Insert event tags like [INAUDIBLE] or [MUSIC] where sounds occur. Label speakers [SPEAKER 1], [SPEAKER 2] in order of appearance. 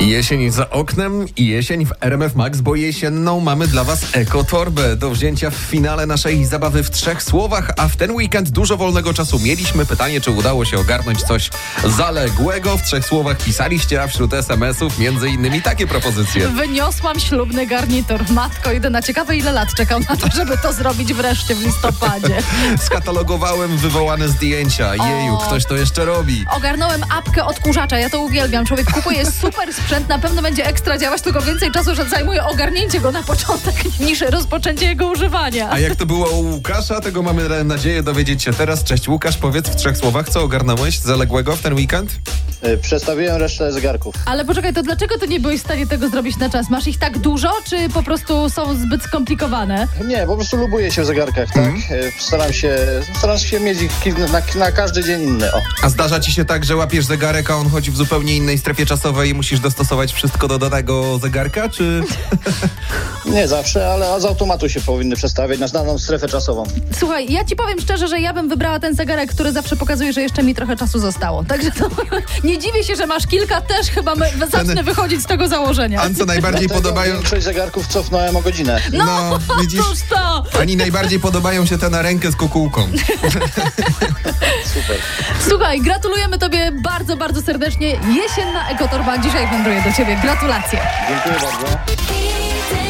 [SPEAKER 1] Jesień za oknem i jesień w RMF Max, bo jesienną mamy dla Was ekotorbę do wzięcia w finale naszej zabawy w trzech słowach, a w ten weekend dużo wolnego czasu mieliśmy. Pytanie, czy udało się ogarnąć coś zaległego. W trzech słowach pisaliście, a wśród SMS-ów między innymi takie propozycje.
[SPEAKER 2] Wyniosłam ślubny garnitur. Matko, idę na ciekawe, ile lat czekam na to, żeby to zrobić wreszcie w listopadzie.
[SPEAKER 1] Skatalogowałem wywołane zdjęcia. Jeju, ktoś to jeszcze robi.
[SPEAKER 2] Ogarnąłem apkę odkurzacza, ja to uwielbiam. Człowiek kupuje super sprzęt, na pewno będzie ekstra działać, tylko więcej czasu że zajmuje ogarnięcie go na początek [LAUGHS] niż rozpoczęcie jego używania.
[SPEAKER 1] A jak to było u Łukasza, tego mamy nadzieję dowiedzieć się teraz. Cześć Łukasz, powiedz w trzech słowach, co ogarnąłeś zaległego w ten weekend?
[SPEAKER 3] Y, Przestawiłem resztę zegarków.
[SPEAKER 2] Ale poczekaj, to dlaczego ty nie byłeś w stanie tego zrobić na czas? Masz ich tak dużo, czy po prostu są zbyt skomplikowane?
[SPEAKER 3] Nie, po prostu lubuję się w zegarkach, tak? Y, Staram się, staram się mieć ich kilka- na, na każdy dzień inny. O.
[SPEAKER 1] A zdarza ci się tak, że łapiesz zegarek, a on chodzi w zupełnie innej strefie czasowej i musisz dostosować wszystko do danego zegarka, czy...
[SPEAKER 3] Nie zawsze, ale z automatu się powinny przestawiać na znaną strefę czasową.
[SPEAKER 2] Słuchaj, ja ci powiem szczerze, że ja bym wybrała ten zegarek, który zawsze pokazuje, że jeszcze mi trochę czasu zostało. Także to [LAUGHS] nie dziwię się, że masz kilka, też chyba my, zacznę wychodzić z tego założenia.
[SPEAKER 1] Ani co
[SPEAKER 3] [LAUGHS]
[SPEAKER 1] najbardziej
[SPEAKER 3] Dlatego
[SPEAKER 1] podobają...
[SPEAKER 3] Większość zegarków cofnąłem o godzinę.
[SPEAKER 1] No, widzisz?
[SPEAKER 2] Cóż to?
[SPEAKER 1] Ani najbardziej podobają się te na rękę z kukułką.
[SPEAKER 3] Super.
[SPEAKER 2] Słuchaj, gratulujemy tobie bardzo, bardzo serdecznie. Jesienna ekotorba dzisiaj wędruje do ciebie. Gratulacje.
[SPEAKER 3] Dziękuję bardzo.
[SPEAKER 4] easy.